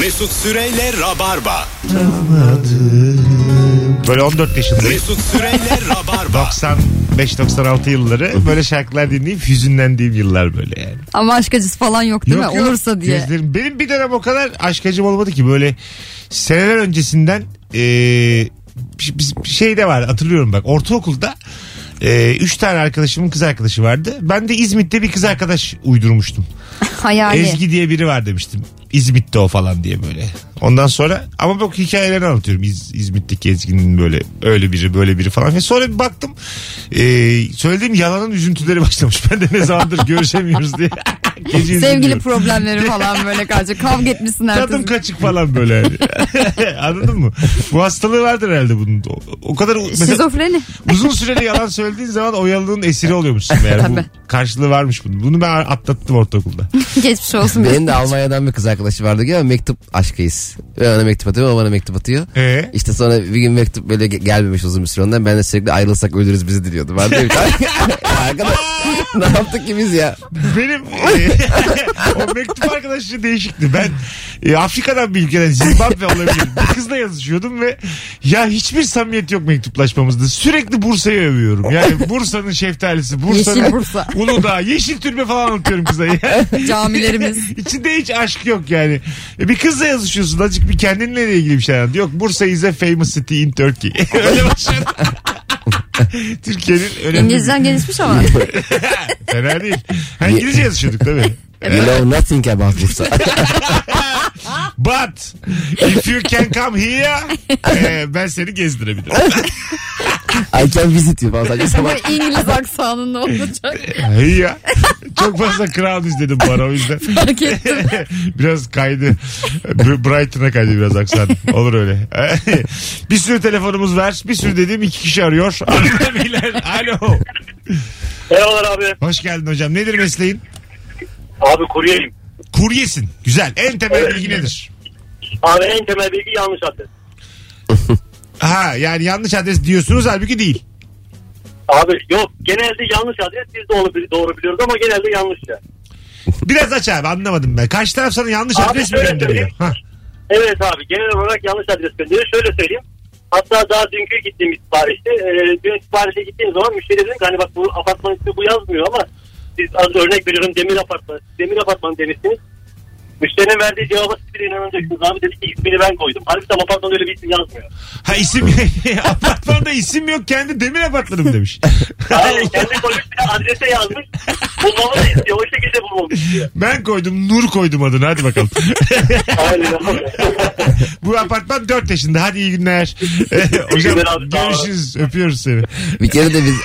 Mesut Süreyle Rabarba. Böyle 14 yaşındayım. Mesut Süreyle Rabarba. 95-96 yılları böyle şarkılar dinleyip hüzünlendiğim yıllar böyle yani. Ama aşk acısı falan yok değil mi? Olursa diye. Gözlerim- Benim bir dönem o kadar aşk acım olmadı ki böyle seneler öncesinden eee, bir- bir- bir şey de var hatırlıyorum bak ortaokulda eee, üç tane arkadaşımın kız arkadaşı vardı. Ben de İzmit'te bir kız arkadaş uydurmuştum. Hayali. Ezgi diye biri var demiştim. İzmit'te o falan diye böyle. Ondan sonra ama bak hikayelerini anlatıyorum. İz, İzmit'teki Ezgi'nin böyle öyle biri böyle biri falan. Ve sonra bir baktım eee söylediğim yalanın üzüntüleri başlamış. Ben de ne zamandır görüşemiyoruz diye. Gece Sevgili üzülüyorum. problemleri falan böyle karşı. Kavga etmişsin Tadım ertesi. kaçık falan böyle. yani. Anladın mı? Bu hastalığı vardır herhalde bunun. O, o kadar mesela Şizofreni. uzun süreli yalan söylediğin zaman o yalanın esiri oluyormuşsun meğer. Bu Tabii. karşılığı varmış bunun. Bunu ben atlattım ortaokulda. Geçmiş olsun. Benim de Almanya'dan bir kız arkadaşı vardı ki mektup aşkıyız. Ben ona mektup atıyor, o bana mektup atıyor. Ee? İşte sonra bir gün mektup böyle ge- gelmemiş uzun bir süre ondan. Ben de sürekli ayrılsak ölürüz bizi diliyordu. Ben de bir tane- Arkadaş ne yaptık ki biz ya? Benim e, o mektup arkadaşı değişikti. Ben e, Afrika'dan bir ülkeden Zimbabwe olabilir. Bir kızla yazışıyordum ve ya hiçbir samimiyet yok mektuplaşmamızda. Sürekli Bursa'yı övüyorum. Yani Bursa'nın şeftalisi, Bursa'nın Yeşil Bursa. Uludağ, yeşil türbe falan anlatıyorum kıza. Ya. Camilerimiz. İçinde hiç aşk yok yani. E, Bir kızla yazışıyorsun azıcık bir kendinle ilgili bir şey anlat. Yok Bursa is a famous city in Turkey. Öyle başladı. Türkiye'nin önemli bir... İngilizcen gelişmiş ama. Fena değil. Ha, İngilizce yazışıyorduk tabii. You know nothing about Bursa. But if you can come here eh, ben seni gezdirebilirim. I can visit you falan. Sadece sabah- Ama İngiliz aksanında olacak. Here. Çok fazla Crown izledim bu ara o yüzden. Fark ettim. biraz kaydı. B- Brighton'a kaydı biraz aksan. Olur öyle. bir sürü telefonumuz var. Bir sürü dediğim iki kişi arıyor. Arada bilen- Alo. Merhabalar abi. Hoş geldin hocam. Nedir mesleğin? Abi kuryeyim. Kuryesin. Güzel. En temel bilgi nedir? Abi en temel bilgi yanlış adres. Ha yani yanlış adres diyorsunuz halbuki değil. Abi yok genelde yanlış adres biz de onu bili- doğru biliyoruz ama genelde yanlış ya. Biraz aç abi anlamadım ben. Kaç taraf sana yanlış Abi adres mi şöyle gönderiyor? söyleyeyim. Ha. Evet abi genel olarak yanlış adres gönderiyor. Şöyle söyleyeyim. Hatta daha dünkü gittiğim bir siparişte e, dün siparişe gittiğim zaman müşteri dedim ki hani bak bu apartman ismi bu yazmıyor ama siz az örnek veriyorum demir apartman. Demir apartman demişsiniz. Müşterinin verdiği cevaba siz bile inanacaksınız abi dedi ki ismini ben koydum. Halbuki tam apartmanda öyle bir isim yazmıyor. Ha isim apartmanda isim yok kendi demir apartmanım demiş. Aynen kendi koymuş bir de adrese yazmış. Bulmamı da istiyor. O şekilde bulmamı istiyor. ben koydum Nur koydum adını hadi bakalım. Aynen abi. Bu apartman 4 yaşında hadi iyi günler. Hocam günler abi, sağ olun. görüşürüz öpüyoruz seni. bir kere de biz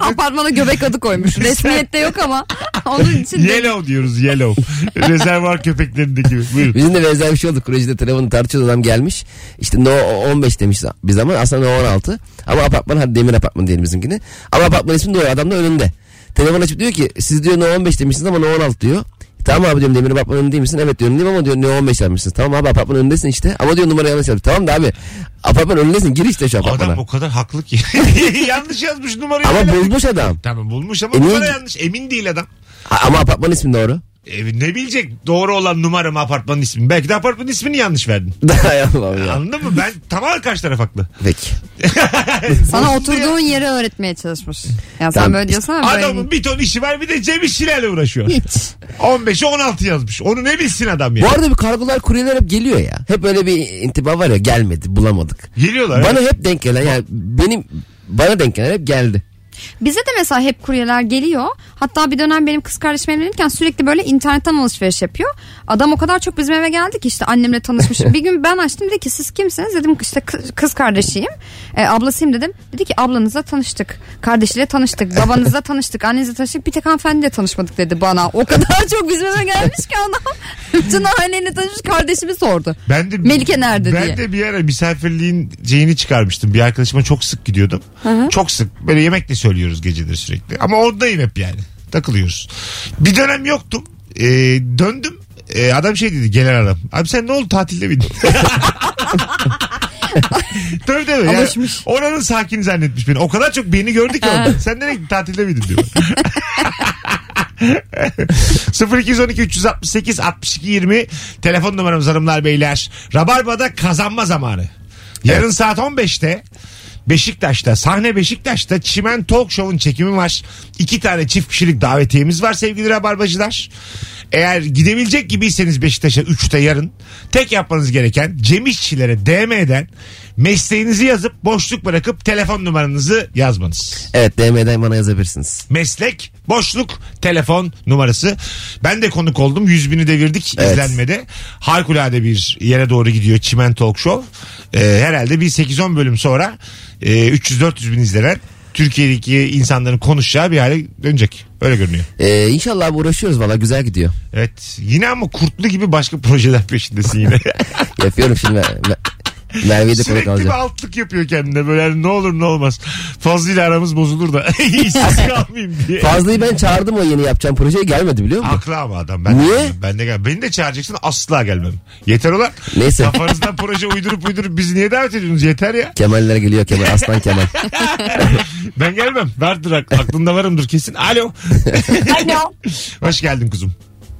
Apartmana göbek adı koymuş. Resmiyette yok ama. Onun için de yellow diyoruz yellow. Rezervuar köpeklerindeki gibi. Buyurun. Bizim de benzer bir şey oldu. Kurecide telefonu tartışıyordu adam gelmiş. İşte no 15 demiş biz ama aslında no 16. Ama apartman hadi demir apartman diyelim bizimkini. Ama apartman ismi doğru adam da önünde. Telefon açıp diyor ki siz diyor no 15 demişsiniz ama no 16 diyor. Tamam abi diyorum demir apartman önünde değil misin? Evet diyorum değil ama diyor no 15 yapmışsınız. Tamam abi apartman önündesin işte ama diyor numara yanlış yapmış. Tamam da abi apartman önündesin gir işte şu apartmana. Adam o kadar haklı ki. yanlış yazmış numarayı. Ama bulmuş adam. Tamam bulmuş ama E, niye- numara yanlış. Emin değil adam. Ha- Ama apartman ismi doğru. E, ne bilecek doğru olan numara mı apartmanın ismi? Belki de apartmanın ismini yanlış verdin. Hay Allah'ım ya. Anladın mı? Ben tamamen karşı taraf haklı. Peki. sana oturduğun yeri öğretmeye çalışmış. Ya sen Tamam. böyle diyorsan ama böyle. Adamın bir ton işi var bir de Cem işçilerle uğraşıyor. Hiç. 15'e 16 yazmış. Onu ne bilsin adam ya. Bu arada bir kargolar kuryeler hep geliyor ya. Hep öyle bir intiba var ya gelmedi bulamadık. Geliyorlar. Bana evet. hep denk gelen yani benim bana denk gelen hep geldi. Bize de mesela hep kuryeler geliyor. Hatta bir dönem benim kız kardeşim evlenirken sürekli böyle internetten alışveriş yapıyor. Adam o kadar çok bizim eve geldi ki işte annemle tanışmışım. bir gün ben açtım dedi ki siz kimsiniz? Dedim işte kız- kız kardeşiyim. E, ablasıyım dedim. Dedi ki ablanızla tanıştık. Kardeşiyle tanıştık. Babanızla tanıştık. Annenizle tanıştık. Bir tek hanımefendiyle tanışmadık dedi bana. O kadar çok bizim eve gelmiş ki adam. Bütün aileyle tanışmış kardeşimi sordu. ben de, Melike nerede ben diye. de bir ara misafirliğin şeyini çıkarmıştım. Bir arkadaşıma çok sık gidiyordum. Çok sık. Böyle yemek de söylüyoruz gecedir sürekli. Ama oradayım hep yani. Takılıyoruz. Bir dönem yoktum. Ee, döndüm. Ee, adam şey dedi gelen adam. Abi sen ne oldu tatilde miydin? tabii tabii. Yani Alışmış. oranın sakin zannetmiş beni. O kadar çok beni gördü ki orada. sen nereye gittin, tatilde miydin diyor. 0212 368 62 20 telefon numaramız hanımlar beyler. Rabarba'da kazanma zamanı. Yarın saat 15'te Beşiktaş'ta sahne Beşiktaş'ta Çimen Talk Show'un çekimi var. İki tane çift kişilik davetiyemiz var sevgili Rabarbacılar. Eğer gidebilecek gibiyseniz Beşiktaş'a 3'te yarın tek yapmanız gereken Cem İşçilere DM'den mesleğinizi yazıp boşluk bırakıp telefon numaranızı yazmanız. Evet DM'den bana yazabilirsiniz. Meslek, boşluk, telefon numarası. Ben de konuk oldum. Yüz bini devirdik Evet. izlenmede. Harikulade bir yere doğru gidiyor Çimen Talk Show. Ee, herhalde bir 8-10 bölüm sonra e, 300-400 bin izlenen Türkiye'deki insanların konuşacağı bir hale dönecek. Öyle görünüyor. Ee, inşallah abi uğraşıyoruz valla güzel gidiyor. Evet. Yine ama kurtlu gibi başka projeler peşindesin yine. Yapıyorum şimdi. Mer- Merve'yi de konuk Sürekli bir alacağım. altlık yapıyor kendine. Böyle hani ne olur ne olmaz. Fazlı ile aramız bozulur da. işsiz kalmayayım diye. Fazlıyı ben çağırdım o yeni yapacağım projeye gelmedi biliyor musun? Haklı ama adam. Ben Niye? De, gelmem. ben de gel. Beni de çağıracaksın asla gelmem. Yeter ulan. Neyse. Kafanızdan proje uydurup uydurup bizi niye davet ediyorsunuz? Yeter ya. Kemaller geliyor Kemal. Aslan Kemal. Ben gelmem. Vardır ak- aklında varımdır kesin. Alo. Alo. Hoş geldin kuzum.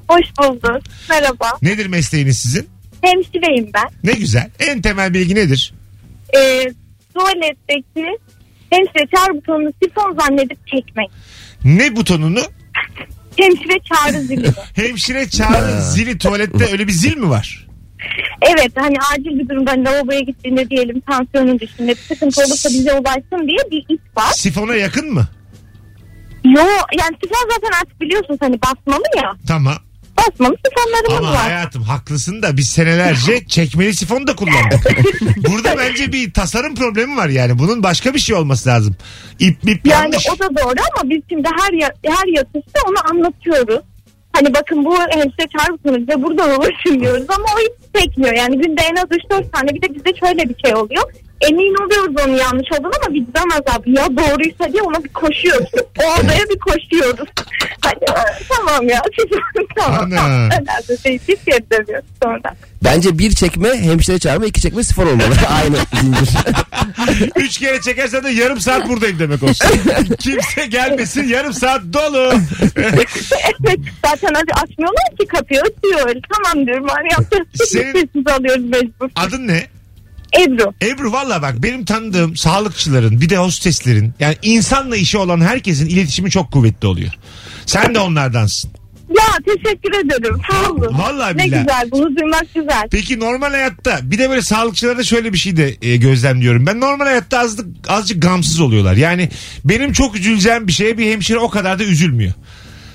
Hoş bulduk. Merhaba. Nedir mesleğiniz sizin? Hemşireyim ben. Ne güzel. En temel bilgi nedir? Ee, tuvaletteki hemşire çağrı butonunu sifon zannedip çekmek. Ne butonunu? Hemşire çağrı zili. Hemşire çağırın zili tuvalette öyle bir zil mi var? evet hani acil bir durumda hani lavaboya gittiğinde diyelim tansiyonun düştüğünde bir sıkıntı olursa bize ulaşsın diye bir it var. Sifona yakın mı? Yo yani sifon zaten artık biliyorsunuz hani basmalı ya. Tamam. Basmalı sifonlarımız Ama var. hayatım haklısın da biz senelerce çekmeli sifon da kullandık. Burada bence bir tasarım problemi var yani. Bunun başka bir şey olması lazım. İp ip Yani yanlış. o da doğru ama biz şimdi her ya- her yatışta onu anlatıyoruz. Hani bakın bu hemşire çağırmışsınız bize buradan ulaşın diyoruz ama o hiç çekmiyor. Yani günde en az 3-4 tane bir de bizde şöyle bir şey oluyor. Emin oluyoruz onun yanlış olduğunu ama biz demez abi ya doğruysa diye ona bir koşuyoruz. O odaya bir koşuyoruz. Hani "Aa, tamam ya tamam. Ana. tamam. Önemli değil. Biz geri dönüyoruz şey sonra. Bence bir çekme hemşire çağırma iki çekme sıfır olmalı. Aynı zincir. Üç kere çekersen de yarım saat buradayım demek olsun. Kimse gelmesin yarım saat dolu. Evet zaten hadi açmıyorlar ki kapıyı açıyor. Tamam diyorum hani yapacağız. Senin- Sessiz alıyoruz mecbur. Adın ne? Ebru. Ebru valla bak benim tanıdığım sağlıkçıların bir de hosteslerin yani insanla işi olan herkesin iletişimi çok kuvvetli oluyor. Sen de onlardansın. Ya teşekkür ederim. Sağ olun. Vallahi ne billahi. güzel. Bunu duymak güzel. Peki normal hayatta bir de böyle sağlıkçılarda şöyle bir şey de e, gözlemliyorum. Ben normal hayatta azlık, azıcık gamsız oluyorlar. Yani benim çok üzüleceğim bir şeye bir hemşire o kadar da üzülmüyor.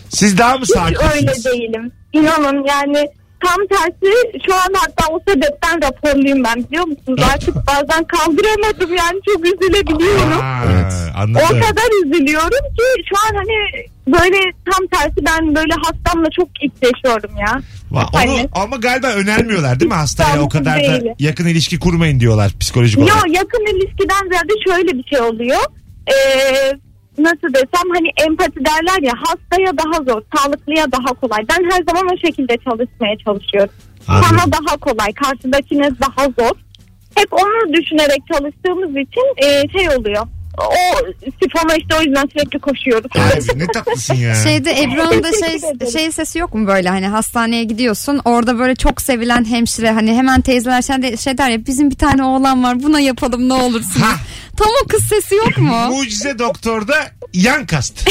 Siz daha mı Hiç öyle sakinsiniz? değilim. İnanın yani tam tersi şu an hatta o sebepten raporluyum ben biliyor musunuz? Artık bazen kaldıramadım yani çok üzülebiliyorum. Aa, Evet. O Anladım. kadar üzülüyorum ki şu an hani böyle tam tersi ben böyle hastamla çok içleşiyorum ya. Va- Hani- Onu, ama galiba önermiyorlar değil mi hastaya o Sağlıklı kadar da değil. yakın ilişki kurmayın diyorlar psikolojik Yo olarak. yakın ilişkiden ziyade şöyle bir şey oluyor. Ee, nasıl desem hani empati derler ya hastaya daha zor, sağlıklıya daha kolay. Ben her zaman o şekilde çalışmaya çalışıyorum. Anladım. Sana daha kolay, karşıdakine daha zor. Hep onu düşünerek çalıştığımız için e, şey oluyor. O sifona işte o yüzden sürekli koşuyoruz. Abi ne tatlısın ya. Şeyde Ebru'nun da şey, Teşekkür ederim. şey sesi yok mu böyle hani hastaneye gidiyorsun orada böyle çok sevilen hemşire hani hemen teyzeler şey, de- şey der ya bizim bir tane oğlan var buna yapalım ne olursun. Ha. Tam o kız sesi yok mu? Mucize doktorda yan kast.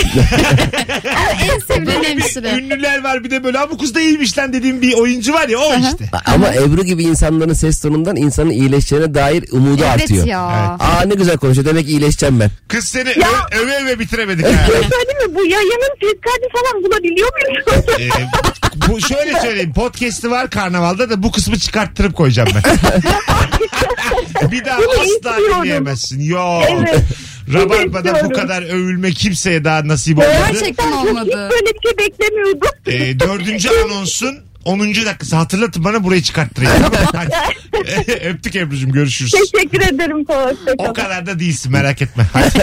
en sevilen Böyle bir hemşire. ünlüler var bir de böyle bu kız da iyiymiş lan dediğim bir oyuncu var ya o işte. Ama Ebru gibi insanların ses tonundan insanın iyileşeceğine dair umudu Evet artıyor. ya. Aa ne güzel konuşuyor demek ki iyileşeceğim ben. Kız seni Ya. ö- öve öve bitiremedik ha. Bir şey söyleyeyim mi? Bu yayının ses kaydı falan bulabiliyor muyuz? Ee, bu şöyle söyleyeyim podcast'i var karnavalda da bu kısmı çıkarttırıp koyacağım ben. bir daha Bunu asla istiyorum. dinleyemezsin. Yo. Evet. Rabarba'da bu istiyorum. kadar övülme kimseye daha nasip olmadı. Gerçekten Hiç olmadı. böyle bir şey beklemiyordum. Ee, dördüncü anonsun 10. dakikası hatırlatın bana burayı çıkarttırayım. Hadi. Öptük Ebru'cum görüşürüz. Teşekkür ederim. O Hoşçakalın. kadar da değilsin merak etme. Hadi,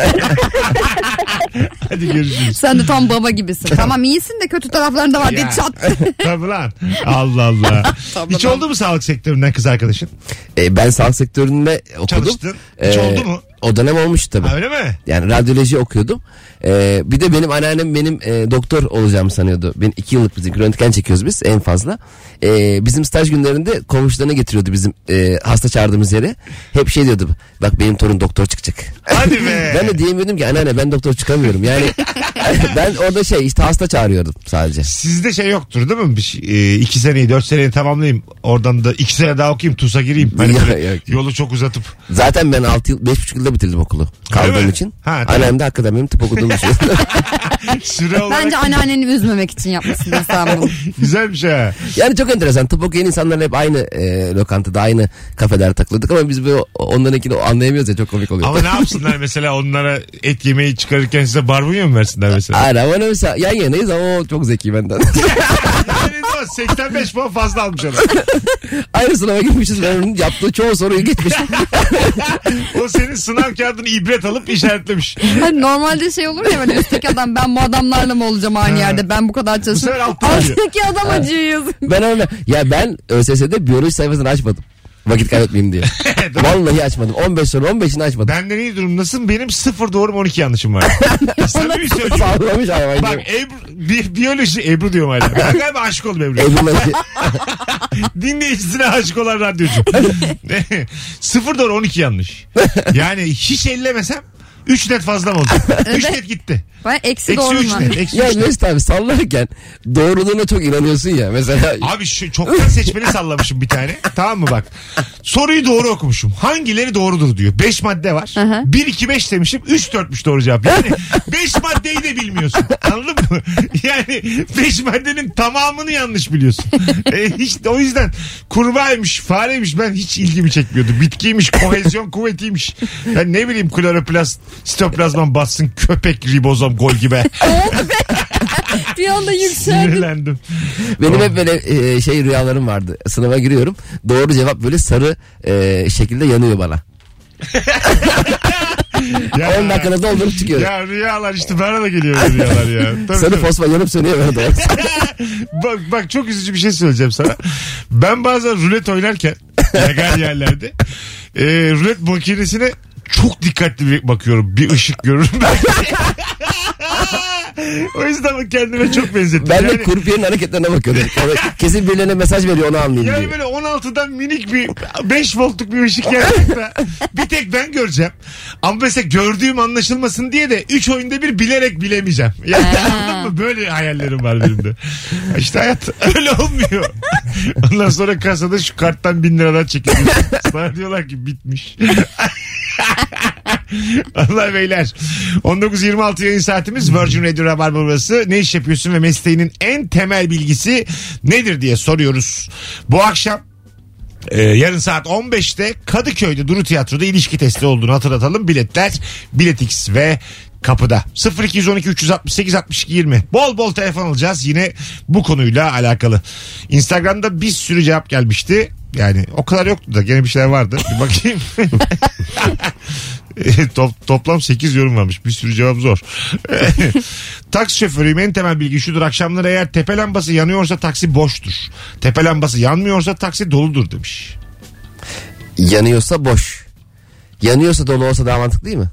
Hadi görüşürüz. Sen de tam baba gibisin. Tamam iyisin de kötü tarafların da var diye Ya. çat. Tabii lan. Allah Allah. Tabii Hiç lan. oldu mu sağlık sektöründen kız arkadaşın? Ee, ben sağlık sektöründe okudum. Çalıştın. Hiç Ee, oldu mu? O dönem olmuştu tabii. Ha, öyle mi? Yani radyoloji okuyordum. Ee, bir de benim anneannem benim e, doktor olacağımı sanıyordu. Ben iki yıllık bizim röntgen çekiyoruz biz en fazla. Ee, bizim staj günlerinde komşularına getiriyordu bizim e, hasta çağırdığımız yere. Hep şey diyordu. Bak benim torun doktor çıkacak. Hadi be. ben de diyemiyordum ki anneanne ben doktor çıkamıyorum. Yani ben orada şey işte hasta çağırıyordum sadece. Sizde şey yoktur değil mi? Bir şey, e, iki seneyi dört seneyi tamamlayayım. Oradan da iki sene daha okuyayım. TUS'a gireyim. Hani Yok, böyle yok. yolu çok uzatıp. Zaten ben 6 yıl 5,5 yılda bitirdim okulu. Öyle Kaldığım mi? için. Ha, tamam. Annem de hakikaten benim tıp okuduğum için. Süre olarak Bence anneanneni üzmemek için yapmışsın sen bunu. güzel bir şey ha. Yani çok enteresan. Tıp okuyan insanlar hep aynı e, lokantada, aynı kafelerde takılırdık ama biz böyle onlarınkini anlayamıyoruz ya çok komik oluyor. Ama ne yapsınlar mesela onlara et yemeği çıkarırken size barbunya mı versinler mesela? Hayır ama ne mesela yan yanayız ama o çok zeki benden. Yani o 85 puan fazla almış adam. aynı sınava gitmişiz ben onun yaptığı çoğu soruyu geçmişim. O senin sınav kağıdını ibret alıp işaretlemiş. Hani normalde şey olur ya böyle üstteki adam ben bu adamlarla mı olacağım aynı yerde ben bu kadar sefer çalışıyorum. altta acıyor. Alttaki adam acıyor yazık. ben öyle ya ben ÖSS'de biyoloji sayfasını açmadım. Vakit kaybetmeyeyim diye. Vallahi açmadım. 15 soru 15'ini açmadım. Benden iyi durumdasın. Benim 0 doğrum 12 yanlışım var. Samimi söylüyorum. Sallamış hayvan gibi. şey Bak e, Ebru, bi- biyoloji Ebru diyorum hala. Ben galiba aşık oldum Ebru'ya. Evlenmesi- Dinleyicisine aşık olan radyocu. 0 doğru 12 yanlış. Yani hiç ellemesem 3 net fazla mı oldu? 3 net gitti. Ben eksi, Eksi doğru 3 mu? net. Eksi ya üç net. Mesut abi sallarken doğruluğuna çok inanıyorsun ya. Mesela Abi şu çoktan seçmeli sallamışım bir tane. Tamam mı bak. Soruyu doğru okumuşum. Hangileri doğrudur diyor. 5 madde var. 1 2 5 demişim. 3 4'müş doğru cevap. Yani 5 maddeyi de bilmiyorsun. Anladın mı? Yani 5 maddenin tamamını yanlış biliyorsun. E, hiç o yüzden kurbağaymış, fareymiş ben hiç ilgimi çekmiyordu. Bitkiymiş, kohezyon kuvvetiymiş. Ben ne bileyim kloroplast, sitoplazman bassın, köpek ribozom gol gibi. Bir anda yükseldim. Sinirlendim. Benim hep böyle e, şey rüyalarım vardı. Sınava giriyorum. Doğru cevap böyle sarı e, şekilde yanıyor bana. Ya. 10 dakikada doldurup çıkıyorum. Ya rüyalar işte bana da geliyor böyle rüyalar ya. Tabii, Sarı tabii. fosfor yanıp sönüyor bana doğru. bak, bak çok üzücü bir şey söyleyeceğim sana. Ben bazen rulet oynarken legal yerlerde e, rulet makinesine çok dikkatli bir bakıyorum. Bir ışık görürüm ben. o yüzden kendime çok benzettim. ben de Yani- kurpiyenin hareketlerine bakıyordum. Yani kesin birilerine mesaj veriyor onu anlayayım Yani diye. böyle 16'dan minik bir 5 voltluk bir ışık gelecek de bir tek ben göreceğim. Ama mesela gördüğüm anlaşılmasın diye de 3 oyunda bir bilerek bilemeyeceğim. Yani anladın mı? Böyle hayallerim var benim de. İşte hayat öyle olmuyor. Ondan sonra kasada şu karttan 1000 liradan çekiliyor. Sana diyorlar ki bitmiş. Allah beyler. 19.26 yayın saatimiz Virgin Radio Rabarba burası. Ne iş yapıyorsun ve mesleğinin en temel bilgisi nedir diye soruyoruz. Bu akşam e, yarın saat 15'te Kadıköy'de Duru Tiyatro'da ilişki testi olduğunu hatırlatalım. Biletler Biletix ve kapıda 0212 368 62 20 bol bol telefon alacağız yine bu konuyla alakalı instagramda bir sürü cevap gelmişti yani o kadar yoktu da gene bir şeyler vardı bir bakayım E, top- toplam 8 yorum varmış. Bir sürü cevap zor. Taksi şoförüyüm. En temel bilgi şudur. Akşamları eğer tepe lambası yanıyorsa taksi boştur. Tepe lambası yanmıyorsa taksi doludur demiş. Yanıyorsa boş. Yanıyorsa dolu olsa daha mantıklı değil mi?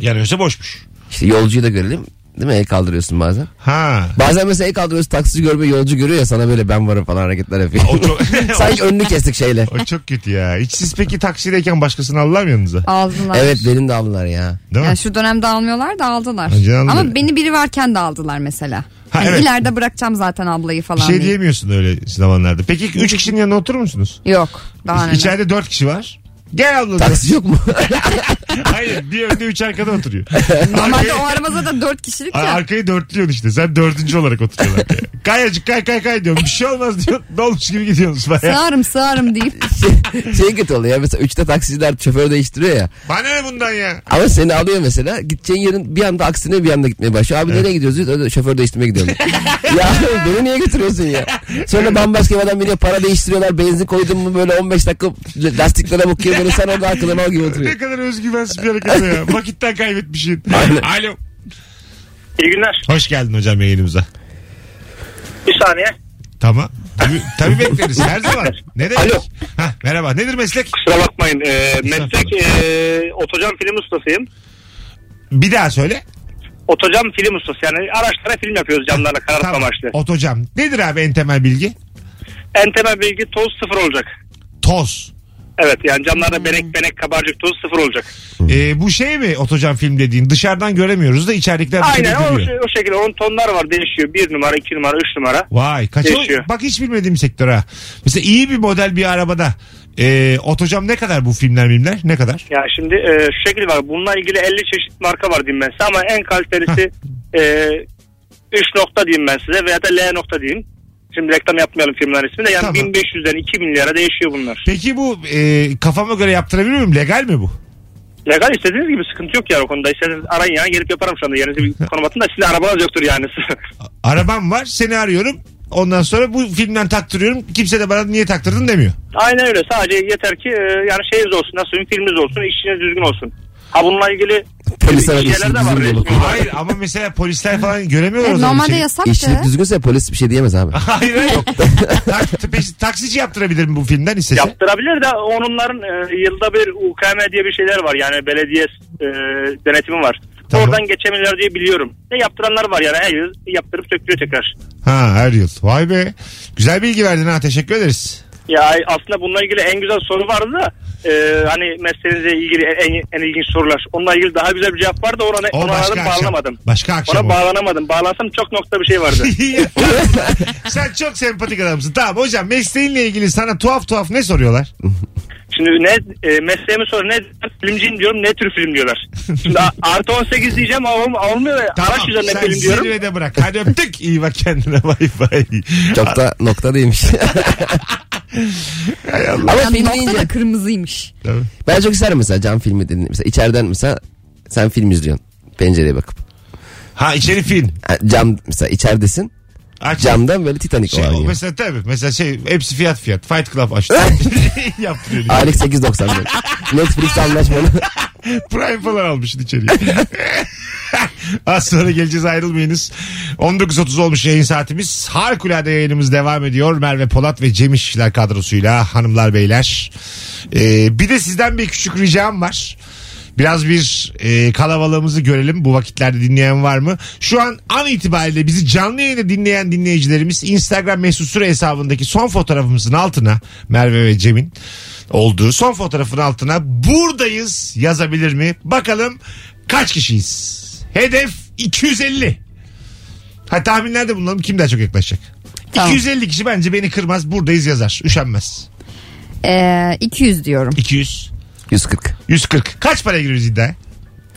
Yanıyorsa boşmuş. İşte yolcuyu da görelim. Değil mi? El kaldırıyorsun bazen. Ha. Bazen mesela el kaldırıyorsun taksici görmüyor yolcu görüyor ya sana böyle ben varım falan hareketler yapıyor. O çok, Sanki önünü kestik şeyle. o çok kötü ya. Hiç siz peki taksideyken başkasını alırlar mı yanınıza? Aldılar. Evet benim de ablalar ya. Değil mi? Yani şu dönemde almıyorlar da aldılar. Ha, canım benim. Ama beni biri varken de aldılar mesela. Ha, Hani evet. İleride bırakacağım zaten ablayı Bir falan. şey diye. diyemiyorsun öyle zamanlarda. Peki 3 kişinin yanına oturur musunuz? Yok. Daha ne? İçeride 4 kişi var. Gel abla. da. Taksici yok mu? Hayır bir önde 3 arkada oturuyor. Normalde Arkaya- o aramızda da dört kişilik Ar- ya. Arkayı dörtlüyorsun işte. Sen dördüncü olarak oturuyorsun arkaya. Kayacık kay kay kay diyorum. Bir şey olmaz diyor. Dolmuş gibi gidiyorsunuz baya. Sığarım sığarım deyip. şey kötü oluyor ya mesela 3'te taksiciler şoförü değiştiriyor ya. Bana ne bundan ya? Ama seni alıyor mesela gideceğin yerin bir anda aksine bir anda gitmeye başlıyor. Abi nereye gidiyoruz? Diyor, "Öyle Şoför değiştirmeye gidiyorum. ya beni niye götürüyorsun ya? Sonra bambaşka bir adam biniyor para değiştiriyorlar. Benzin koydun mu böyle 15 dakika lastiklere bakıyor böyle sen orada akıllı mal gibi Ne oturuyor. kadar özgüvensiz bir hareket o ya. Vakitten kaybetmişsin. Aynen. Alo. İyi günler. Hoş geldin hocam yayınımıza. Bir saniye. Tamam. Tabii, tabii bekleriz her zaman. Ne demek? Alo. Hah, merhaba. Nedir meslek? Kusura bakmayın. E, meslek e, otocam film ustasıyım. Bir daha söyle. Otocam film ustası yani araçlara film yapıyoruz camlarla karartma amaçlı. Otocam. Nedir abi en temel bilgi? En temel bilgi toz sıfır olacak. Toz. Evet yani camlarda benek benek kabarcık toz sıfır olacak. Ee, bu şey mi otocam film dediğin? Dışarıdan göremiyoruz da içerikler Aynen o, şey, duruyor. o şekilde onun tonlar var değişiyor. Bir numara, iki numara, üç numara. Vay kaç Değişiyor. Bak hiç bilmediğim sektör ha. Mesela iyi bir model bir arabada. Ee, otocam ne kadar bu filmler filmler? Ne kadar? Ya şimdi e, şu şekilde var. Bununla ilgili 50 çeşit marka var diyeyim ben size ama en kalitelisi e, 3 nokta diyeyim ben size veya da L nokta diyeyim. Şimdi reklam yapmayalım firmaların ismini de yani Tamam. 1500'den 2000 lira değişiyor bunlar. Peki bu e, kafama göre yaptırabiliyor muyum? Legal mi bu? Legal istediğiniz gibi sıkıntı yok yani o konuda. İsterseniz arayın ya gelip yaparım şu anda. Yerinizi bir konum atın da sizin arabanız yoktur yani. Arabam var seni arıyorum. Ondan sonra bu filmden taktırıyorum. Kimse de bana niye taktırdın demiyor. Aynen öyle sadece yeter ki e, yani şeyiniz olsun nasıl söyleyeyim filminiz olsun işiniz düzgün olsun. Ha bununla ilgili Polis arabası şeyler de var. bizim resmi yolu. var. Hayır ama mesela polisler falan göremiyorlar Evet, o zaman. bir normalde şey. yasaktı. İşçilik düzgünse polis bir şey diyemez abi. Hayır hayır. Tak- peki taksici yaptırabilir mi bu filmden istese? Yaptırabilir de onunların e, yılda bir UKM diye bir şeyler var. Yani belediye e, denetimi var. Tamam. Oradan geçemiyorlar diye biliyorum. Ne yaptıranlar var yani her yıl yaptırıp söktürüyor tekrar. Ha her yıl. Vay be. Güzel bilgi verdin ha teşekkür ederiz. Ya aslında bununla ilgili en güzel soru vardı da e, hani mesleğinizle ilgili en, en ilginç sorular. Onunla ilgili daha güzel bir cevap vardı ona, O ona başka aradım, akşam. bağlanamadım. Başka akşam. Ona o. bağlanamadım. Bağlansam çok nokta bir şey vardı. Sen çok sempatik adamsın. Tamam hocam mesleğinle ilgili sana tuhaf tuhaf ne soruyorlar? Şimdi ne e, mesleğimi sor ne filmciyim diyorum ne tür film diyorlar. Şimdi a- artı 18 diyeceğim ama olm- olmuyor ya. Tamam Araç üzerine sen film diyorum. zirvede bırak. Hadi öptük. İyi bak kendine bay bay. Çok da nokta değilmiş. Ama Yani film nokta da deyince kırmızıymış. ben çok isterim mesela cam filmi dediğin. Mesela içeriden mesela sen film izliyorsun. Pencereye bakıp. Ha içeri film. Ha, Cam mesela içeridesin. Aç. Camdan böyle Titanic Şey, olan o gibi. mesela tabii. Mesela şey hepsi fiyat fiyat. Fight Club açtı. Yaptırıyor. Aylık 8.90. Netflix anlaşmalı. Prime falan almışsın içeriye. Az sonra geleceğiz ayrılmayınız. 19.30 olmuş yayın saatimiz. Harikulade yayınımız devam ediyor. Merve Polat ve Cem İşçiler kadrosuyla hanımlar beyler. Ee, bir de sizden bir küçük ricam var. Biraz bir e, kalabalığımızı görelim. Bu vakitlerde dinleyen var mı? Şu an an itibariyle bizi canlı yayında dinleyen dinleyicilerimiz Instagram mesut süre hesabındaki son fotoğrafımızın altına Merve ve Cem'in olduğu son fotoğrafın altına buradayız yazabilir mi? Bakalım kaç kişiyiz? Hedef 250. Ha tahminlerde bulunalım kim daha çok yaklaşacak? Tamam. 250 kişi bence beni kırmaz buradayız yazar. Üşenmez. Ee, 200 diyorum. 200. 140. 140. Kaç paraya giriyoruz iddiaya?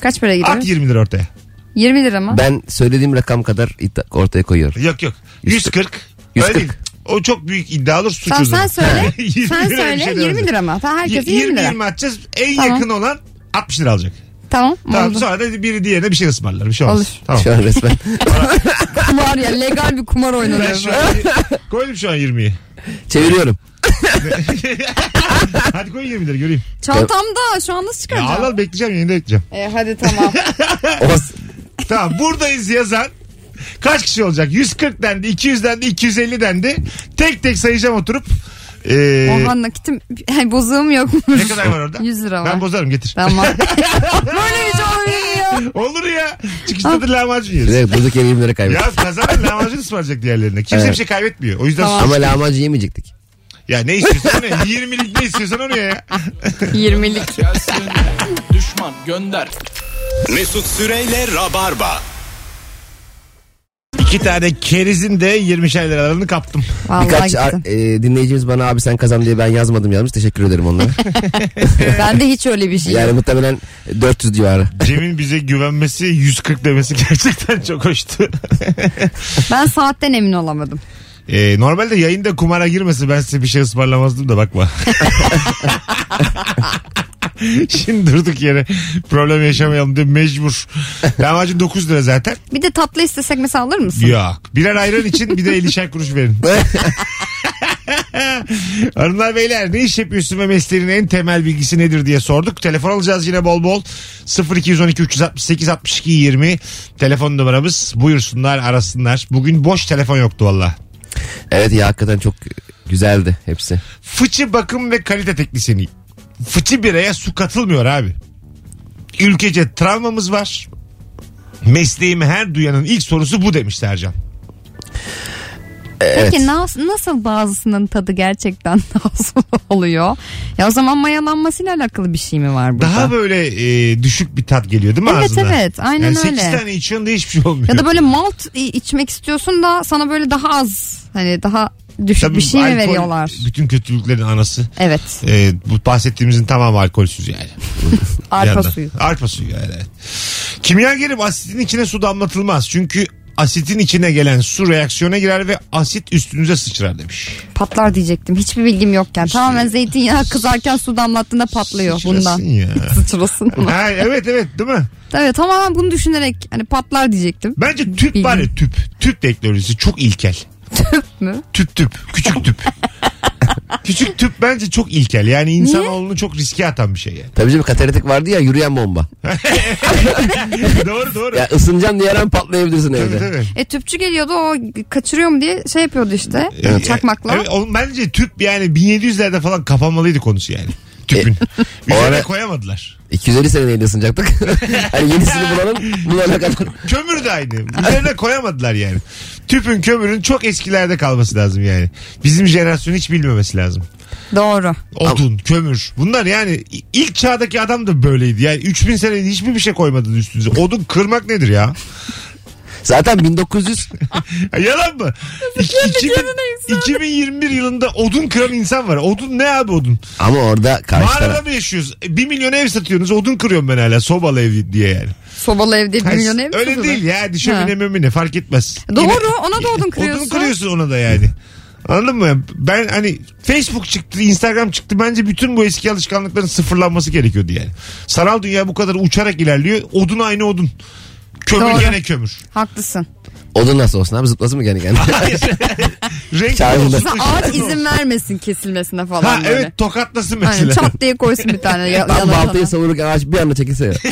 Kaç para gidiyor? At 20 lira ortaya. 20 lira mı? Ben söylediğim rakam kadar iddia- ortaya koyuyorum. Yok yok. 140. 140. Öyle değil. O çok büyük iddia olur suç Tamam olur. sen söyle. Yirmi sen lira bir söyle şey 20 demez. lira mı? Tamam herkese 20, 20 lira. 20 atacağız. En Tamam. yakın olan 60 lira alacak. Tamam. Tamam oldu. sonra da biri diğerine bir şey ısmarlar. Bir şey olmaz. Olur. Tamam. Şu an resmen. Kumar ya legal bir kumar Ben oynanıyor. şu an koydum şu an 20'yi. Çeviriyorum. Hadi koy 20 lira göreyim. Çantamda şu an nasıl Ya al çıkaracağım? al bekleyeceğim yayında bekleyeceğim. Ee, hadi tamam. Olmaz. Tamam buradayız yazan kaç kişi olacak? 140 dendi, 200 dendi, 250 dendi. Tek tek sayacağım oturup. Ee, Oha nakitim bozuğum yok. ne kadar var orada? 100 lira var. Ben bozarım getir. Tamam. Böyle bir şey olabilir ya. Olur ya. Çıkışta da lahmacun yeriz. Direkt buradaki elimleri kaybettim. Ya kazanan lahmacun ısmarlayacak diğerlerine. Kimse Evet. bir şey kaybetmiyor. O yüzden Tamam. sus. Ama lahmacun yemeyecektik. Ya ne istiyorsan ne? 20'lik ne istiyorsan onu ye ya. 20'lik. Gelsin düşman gönder. Mesut Süreyle Rabarba. İki tane kerizin de 20'şer liralarını kaptım. Vallahi Birkaç gittim. ar- e, dinleyicimiz bana abi sen kazan diye ben yazmadım yazmış. Teşekkür ederim onlara. Ben de hiç öyle bir şey yani yok. muhtemelen 400 civarı. Cem'in bize güvenmesi 140 demesi gerçekten çok hoştu. Ben saatten emin olamadım. Ee, normalde yayında kumara girmesi ben size bir şey ısmarlamazdım da bakma. Şimdi durduk yere problem yaşamayalım diye mecbur. Lahmacun 9 lira zaten. Bir de tatlı istesek mesela alır mısın? Yok. Birer ayran için bir de 50'şer kuruş verin. Hanımlar beyler ne iş yapıyorsun ve mesleğinin en temel bilgisi nedir diye sorduk. Telefon alacağız yine bol bol. 0212 368 62 20 telefon numaramız. Buyursunlar arasınlar. Bugün boş telefon yoktu valla. Evet ya hakikaten çok güzeldi hepsi. Fıçı bakım ve kalite teknisyeni. Fıçı biraya su katılmıyor abi. Ülkece travmamız var. Mesleğimi her duyanın ilk sorusu bu demiş Sercan. Peki nas- nasıl bazısının tadı gerçekten nasıl oluyor? Ya o zaman mayalanmasıyla alakalı bir şey mi var burada? Daha böyle e, düşük bir tat geliyor değil mi Evet, ağzına? evet. Aynen yani 8 öyle. tane içiyorsun da hiçbir şey olmuyor. Ya da böyle malt i- içmek istiyorsun da sana böyle daha az hani daha düşük Tabii bir şey mi alkol veriyorlar? Bütün kötülüklerin anası. Evet. E, bu bahsettiğimizin tamamı alkolsüz yani. Bir Arpa yandan. suyu. Arpa suyu yani. evet. Kimya gelip asitin içine su damlatılmaz. Çünkü asitin içine gelen su reaksiyona girer ve asit üstünüze sıçrar demiş. Patlar diyecektim. Hiçbir bilgim yokken. Tamamen zeytinyağı kızarken su damlattığında patlıyor Sıçrasın bundan. ya. Sıçrasın. ha, şey. evet evet değil mi? evet tamamen bunu düşünerek hani patlar diyecektim. Bence tüp var ya tüp. Tüp teknolojisi çok ilkel. Tüp mü? Tüp tüp. Küçük tüp. Küçük tüp bence çok ilkel. Yani insanoğlunu çok riske atan bir şey yani. Tabii canım katalitik vardı ya yürüyen bomba. doğru doğru. Ya ısınacağım diye her an patlayabilirsin Tabii, evde. tabii. E tüpçü geliyordu o kaçırıyor mu diye şey yapıyordu işte. Evet. Çakmakla. E, Evet, oğlum bence tüp yani 1700'lerde falan kapanmalıydı konusu yani. E, Tüpün. Üzerine ara- koyamadılar. 250 sene neyle ısınacaktık? hani yenisini bulalım bulana kadar. Kömür de aynı. Üzerine koyamadılar yani. Tüpün kömürün çok eskilerde kalması lazım yani. Bizim jenerasyon hiç bilmemesi lazım. Doğru. Odun, kömür. Bunlar yani i- ilk çağdaki adam da böyleydi. Yani 3000 sene hiçbir bir şey koymadınız üstünüze. Odun kırmak nedir ya? Zaten 1900 Ya Yalan mı? İki- iki- 2021 yılında odun kıran insan var. Odun ne abi odun? ama orada karşı Mağarada taraf. mı yaşıyoruz? 1 milyon ev satıyorsunuz odun kırıyorum ben hala sobalı ev diye yani. Sobalı evde Hayır, milyon ev mi Öyle tutulur? değil ya. Ha. Şömine mömine fark etmez. Doğru ona da odun kırıyorsun. Odun kırıyorsun ona da yani. Anladın mı? Ben hani Facebook çıktı, Instagram çıktı. Bence bütün bu eski alışkanlıkların sıfırlanması gerekiyordu yani. Sanal dünya bu kadar uçarak ilerliyor. Odun aynı odun. Kömür Doğru. gene kömür. Haklısın. Odun nasıl olsun abi zıplasın mı kendi kendine? Renk Çağrı olsun, da- Mesela ışık ağaç olsun. izin vermesin kesilmesine falan Ha böyle. evet tokatlasın Aynen, mesela. çat diye koysun bir tane ya- Tam yalan baltayı sana. savururken ağaç bir anda çekilse ya.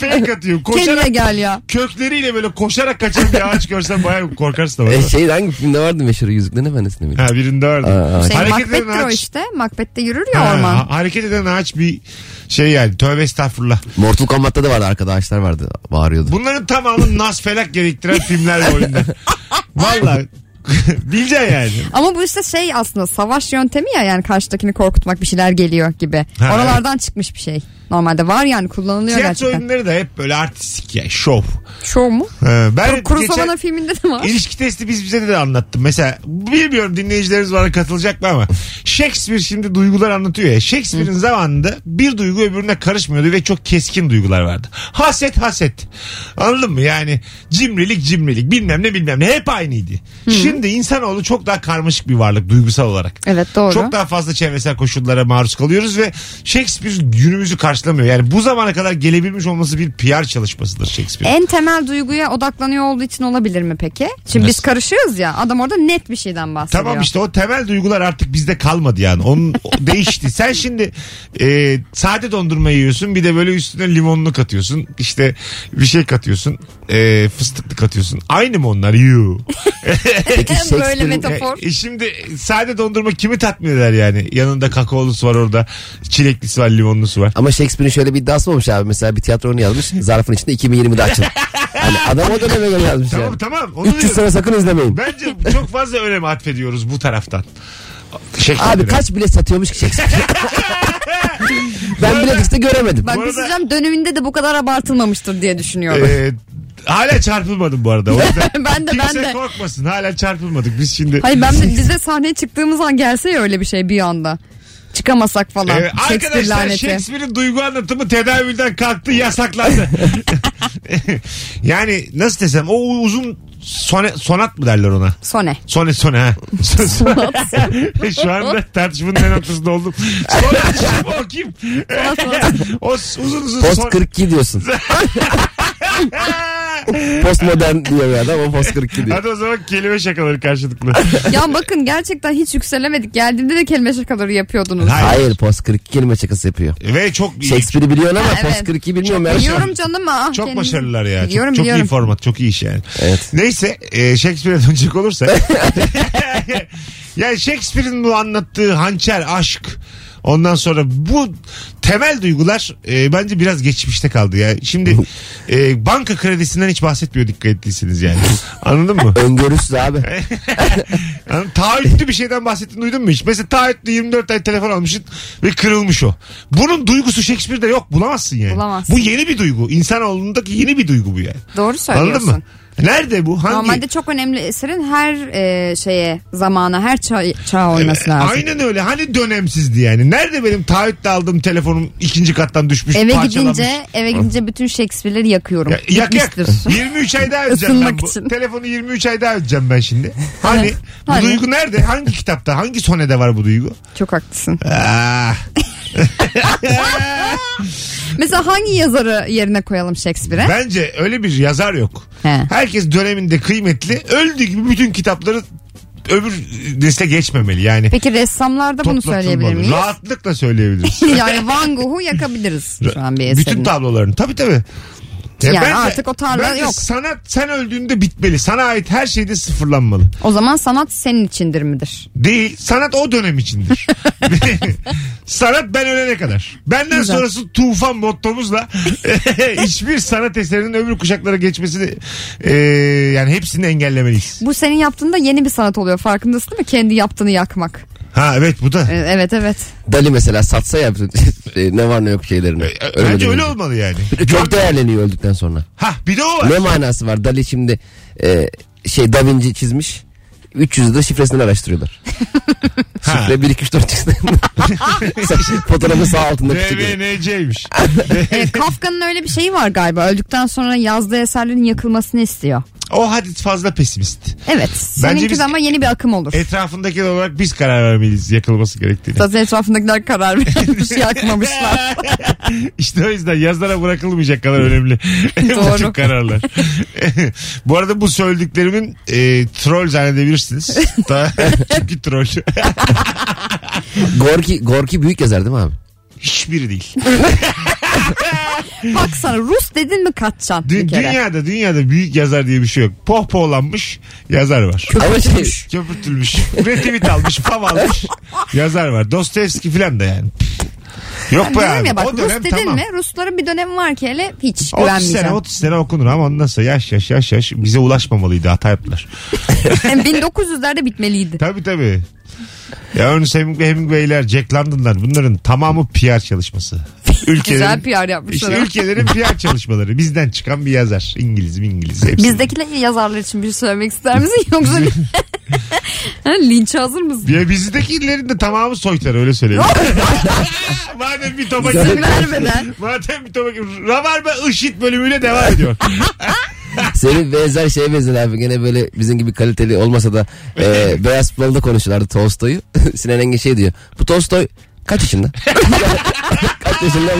Fake atıyor. Koşarak Kendine gel ya. kökleriyle böyle koşarak kaçan bir ağaç görsen bayağı korkarsın ama. e, şey hangi filmde vardı meşhur Yüzüklerin Efendisi'nde miydi? Ha birinde vardı. Aa, Şey, eden Macbeth'tir o ağaç- işte. Macbeth'te yürür ya Ha, orman. ha- hareket eden ağaç bir şey yani tövbe estağfurullah. Mortal Kombat'ta da vardı arkada ağaçlar vardı bağırıyordu. Bunların tamamı nas felak gerektiren filmler ve oyunlar. Valla bileceksin yani. Ama bu işte şey aslında savaş yöntemi ya yani karşıdakini korkutmak bir şeyler geliyor gibi. Ha, Oralardan çıkmış bir şey. Normalde var yani kullanılıyor Tiyatro gerçekten. oyunları da hep böyle artistik ya şov. Şov mu? Ee, ben Kurosawa'nın geçen filminde de var. ilişki testi biz bize de anlattım. Mesela bilmiyorum dinleyicilerimiz bana katılacak mı ama Shakespeare şimdi duygular anlatıyor ya. Shakespeare'in zamanında bir duygu öbürüne karışmıyordu ve çok keskin duygular vardı. Haset haset. Anladın mı? Yani cimrilik cimrilik bilmem ne bilmem ne hep aynıydı. Şimdi insanoğlu çok daha karmaşık bir varlık duygusal olarak. Evet doğru. Çok daha fazla çevresel koşullara maruz kalıyoruz ve Shakespeare günümüzü karşılamıyor. Yani bu zamana kadar gelebilmiş olması bir PR çalışmasıdır Shakespeare. En temel duyguya odaklanıyor olduğu için olabilir mi peki? Şimdi biz karışıyoruz ya adam orada net bir şeyden bahsediyor. Tamam işte o temel duygular artık bizde kalmadı yani. Onun o değişti. Sen şimdi e, sade dondurma yiyorsun bir de böyle üstüne limonlu katıyorsun. İşte bir şey katıyorsun. E, fıstıklı katıyorsun. Aynı mı onlar? Yuu. Peki Böyle Shakespeare'in metafor. E, e, şimdi sade dondurma kimi tatmin eder yani? Yanında kakaolusu var orada. Çileklisi var, limonlusu var. Ama Shakespeare'in şöyle bir iddiası olmuş abi. Mesela bir tiyatro oyunu yazmış. Zarfın içinde 2020'de açın. Hani adam o döneme göre yazmış Tamam yani. tamam. Onu 300 diyorum. sene sakın izlemeyin. Bence çok fazla önem atfediyoruz bu taraftan. Şey, Şekline. Abi kaç bilet satıyormuş ki Shakespeare? ben bilet X'te göremedim. Bak Bu bir arada- şey söyleyeceğim, döneminde de bu kadar abartılmamıştır diye düşünüyorum. Ee, hala çarpılmadım bu arada. O yüzden Ben de, ben kimse de. korkmasın. Hala çarpılmadık. Biz şimdi e, Hayır ben de bize sahneye çıktığımız an gelse ya öyle bir şey bir anda. Çıkamasak Ee, falan. Shakespeare arkadaşlar laneti. Shakespeare'in duygu anlatımı tedavülden kalktı yasaklandı. yani nasıl desem o uzun sone- sonat mı derler ona? Sone. Sone sone ha. Şu anda tartışmanın en ortasında oldum. Sonat kim o kim? o uzun uzun Post son- 42 diyorsun. Postmodern diyor bir adam o post 42 diyor. Hadi o zaman kelime şakaları karşılıklı. ya bakın gerçekten hiç yükselemedik. Geldiğimde de kelime şakaları yapıyordunuz. Hayır. Hayır post 42 kelime şakası yapıyor. Ve çok iyi. Shakespeare'i biliyorsun ama Ha, evet. post 42 bilmiyorum. ya. Biliyorum canım ah. Çok kendiniz- başarılılar ya. Çok- Biliyorum çok, biliyorum. iyi format. Çok iyi iş yani. Evet. Neyse e, Shakespeare'e dönecek olursak. yani Shakespeare'in bu anlattığı hançer, aşk ondan sonra bu temel duygular e, bence biraz geçmişte kaldı ya. Şimdi e, banka kredisinden hiç bahsetmiyor dikkat ettiyseniz yani. Anladın mı? Öngörüsüz Eh. abi. Yani taahhütlü bir şeyden bahsettiğini duydun mu hiç? Mesela taahhütlü 24 ay telefon almışsın ve kırılmış o. Bunun duygusu Shakespeare'de yok. Bulamazsın yani. Bulamazsın. Bu yeni bir duygu. İnsanoğlundaki yeni bir duygu bu yani. Doğru Anladın söylüyorsun. mı? Nerede bu? Hangi? Normalde çok önemli eserin her e, şeye, zamana, her ça- çağa Evet, oyması lazım. Aynen öyle. Hani dönemsizdi yani. Nerede benim taahhütle aldığım telefonum ikinci kattan düşmüş, Eve parçalanmış? gidince, eve gidince bütün Shakespeare'leri yakıyorum. Ya, yak yak. Gitmiştir. 23 ay daha ödeyeceğim ben Isınmak bu. için. Telefonu 23 ay daha ödeyeceğim ben şimdi. Hani bu Hani? duygu nerede? Hangi kitapta? Hangi sonede var bu duygu? Çok haklısın. Ah. Mesela hangi yazarı yerine koyalım Shakespeare'e? Bence öyle bir yazar yok. He. Herkes döneminde kıymetli. Öldüğü gibi bütün kitapları öbür nesle geçmemeli. Yani Peki ressamlarda bunu toplatılmalı. söyleyebilir miyiz? Rahatlıkla söyleyebiliriz. yani Van Gogh'u yakabiliriz şu an bir eserine. Bütün tablolarını. Tabii tabii. Yani bence- artık o tarla bence yok. Sanat sen öldüğünde bitmeli. Sana ait her şey de sıfırlanmalı. O zaman sanat senin içindir midir? Değil. Sanat o dönem içindir. sanat ben ölene kadar. Benden Güzel. sonrası tufan mottomuzla hiçbir sanat eserinin öbür kuşaklara geçmesini e, yani hepsini engellemeliyiz. Bu senin yaptığında yeni bir sanat oluyor farkındasın değil mi? Kendi yaptığını yakmak. Ha evet bu da. Ee, Evet evet. Dali mesela satsa ya bütün- ne var ne yok şeylerini. Ölmeden Eh, Bence öyle önce. olmalı yani. Çok değerleniyor öldükten sonra. Ha bir de o var. Ne manası var? Dali şimdi e, şey Da Vinci çizmiş. 300 de şifresini araştırıyorlar. Ha. Şifre 1 2 3 4 çıksın. Fotoğrafın sağ altında küçük. DVNC'ymiş. Ee, Kafka'nın öyle bir şeyi var galiba. Öldükten sonra yazdığı eserlerin yakılmasını istiyor. O hadis fazla pesimist. Evet. Seninki biz- de ama yeni bir akım olur. Etrafındakiler olarak biz karar vermeliyiz yakılması gerektiğini. Zaten etrafındakiler karar vermiş yakmamışlar. işte o yüzden yazlara bırakılmayacak kadar önemli. bu Doğru. tür kararlar. bu arada bu söylediklerimin e, troll zannedebilirsiniz. Ta- Çünkü troll. Gorki Gorki büyük yazar değil mi abi? Hiçbiri değil. Bak sana Rus dedin mi kaçacaksın Dü- bir kere. dünyada dünyada büyük yazar diye bir şey yok. Pohpohlanmış yazar var. Ama şey Köpürtülmüş. Retweet almış, fav almış. Yazar var. Dostoyevski falan da yani. Yok be Diyorum abi. ya bak o Rus dönem dedin tamam. mi Rusların bir dönemi var ki hele hiç 30 sene güvenmeyeceğim. 30 sene okunur ama ondan sonra yaş yaş yaş yaş bize ulaşmamalıydı hata yaptılar. Yani 1900'lerde bitmeliydi. Tabii tabii. Ya Ernest Hemingway, Hemingway'ler, Jack London'lar bunların tamamı PR çalışması. Güzel Ülkelerin, PR yapmışlar. işte ama. ülkelerin PR çalışmaları. Bizden çıkan bir yazar. İngiliz mi İngiliz. Hepsi. Bizdekiler yazarlar için bir şey söylemek ister misin? Yoksa Ha, linçe hazır mısın? Ya bizdekilerin de tamamı soytar öyle söyleyeyim. Madem bir topa İzin vermeden. Madem bir topa Rabarba IŞİD bölümüyle devam ediyor. senin benzer şeye benzer abi. Gene böyle bizim gibi kaliteli olmasa da e, Beyaz Plan'da konuşuyorlardı Tolstoy'u. Sinan Engin şey diyor. Bu Tolstoy kaç yaşında? kaç yaşında?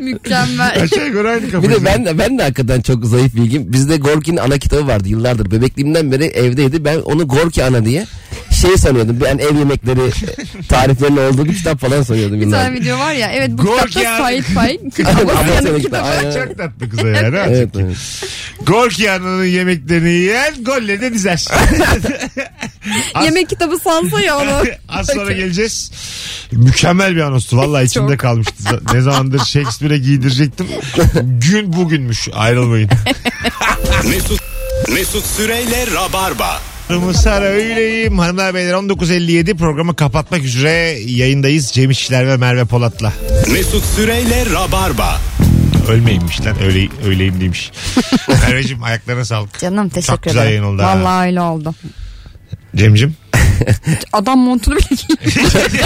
Mükemmel. Aşağı yukarı şey aynı Bir kafası. de ben de, ben de hakikaten çok zayıf bilgim. Bizde Gorki'nin ana kitabı vardı yıllardır. Bebekliğimden beri evdeydi. Ben onu Gorki ana diye şey sanıyordum. Ben ev yemekleri e, tariflerinin olduğu bir kitap falan sanıyordum Bir tane yıllardır. video var ya. Evet bu Gorky kitapta abi. Sait Faik. Anlatıyorum Kapasya'nın işte, kitabı. aynen. Çok tatlı kıza yani. ha? Evet, evet. Gorki Ana'nın yemeklerini yiyen golle de dizer. Az- Yemek kitabı sansa ya onu. Az sonra geleceğiz. Mükemmel bir anonstu. Valla içimde kalmıştı. Z- Ne zamandır Shakespeare'e giydirecektim. Gün bugünmüş. Ayrılmayın. Mesut Mesut Süreyle Rabarba. Mısır öyleyim. Hanımlar beyler 19.57 programı kapatmak üzere yayındayız. Cem İşçiler ve Merve Polat'la. Mesut Süreyle Rabarba. Ölmeyimmiş lan. Öyle, öyleyim demiş. Merveciğim ayaklarına sağlık. Canım teşekkür ederim. Çok güzel yayın oldu ha. Vallahi öyle oldu. Cem'cim. Adam montunu bile giymiş.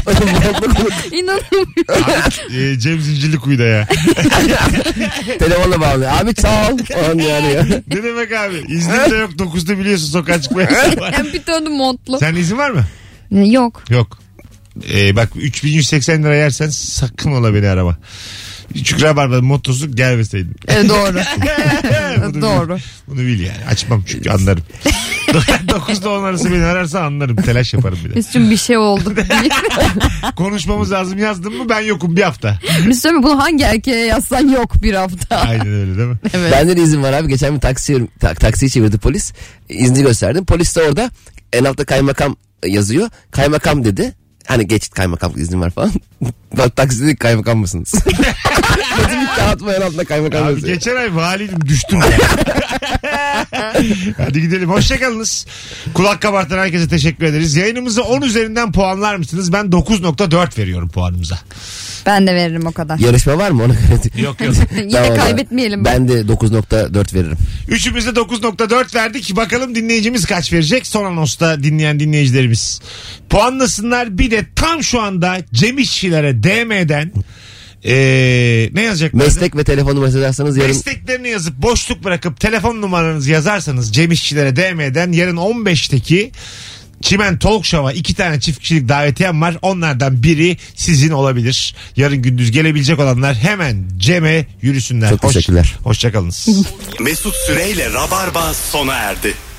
İnanamıyorum. Abi, e, Cem Zincirlikuyu'da ya. Telefonla bağlı. Abi sağ ol. Falan yani ya. Ne demek abi? İznim de yok. 9'da biliyorsun sokağa çıkma yasağı var. Yani bir döndüm montlu. Sen izin var mı? Ne, Yok. Yok. Ee, bak 3180 lira yersen sakın ola beni arama. Çünkü Rabarba'nın mottosu gelmeseydin. Ee, Evet, E, doğru. E, Bunu bil. Doğru. Bunu bil yani. Açmam çünkü anlarım. 9'da 10 arası beni ararsa anlarım. Telaş yaparım bir de. Mesut'cum bir şey oldu. Konuşmamız lazım yazdın mı ben yokum bir hafta. Mesut'cum şey bunu hangi erkeğe yazsan yok bir hafta. Aynen öyle değil mi? Evet. Bende de izin var abi. Geçen bir taksi, ta, taksiyi çevirdi polis. İzni gösterdim. Polis de orada en altta kaymakam yazıyor. Kaymakam dedi. Hani geçit kaymakam iznim var falan. Bak taksi dedi kaymakam mısınız? Dedim bir kağıt var en altta kaymakam Abi yazıyor. geçen ay valiydim düştüm. ya. Hadi gidelim. Hoşçakalınız. Kulak kabartan herkese teşekkür ederiz. Yayınımıza 10 üzerinden puanlar mısınız? Ben 9.4 veriyorum puanımıza. Ben de veririm o kadar. Yarışma var mı ona göre? Yok yok. Yine Tamam abi. kaybetmeyelim. Ben de 9.4 veririm. Üçümüz de 9.4 verdik. Bakalım dinleyicimiz kaç verecek? Son anosta dinleyen dinleyicilerimiz. Puanlasınlar. Bir de tam şu anda Cem İşçilere DM'den eee, ne yazacaklar? Meslek ve telefon numarası yazarsanız yarın Mesleklerini yazıp boşluk bırakıp telefon numaranızı yazarsanız Cem İşçilere DM'den yarın 15'teki Çimen Talk Show'a iki tane çift kişilik davetiyem var. Onlardan biri sizin olabilir. Yarın gündüz gelebilecek olanlar hemen Cem'e yürüsünler. Çok Hoş- teşekkürler. Hoşçakalınız. Mesut Süreyle Rabarba sona erdi.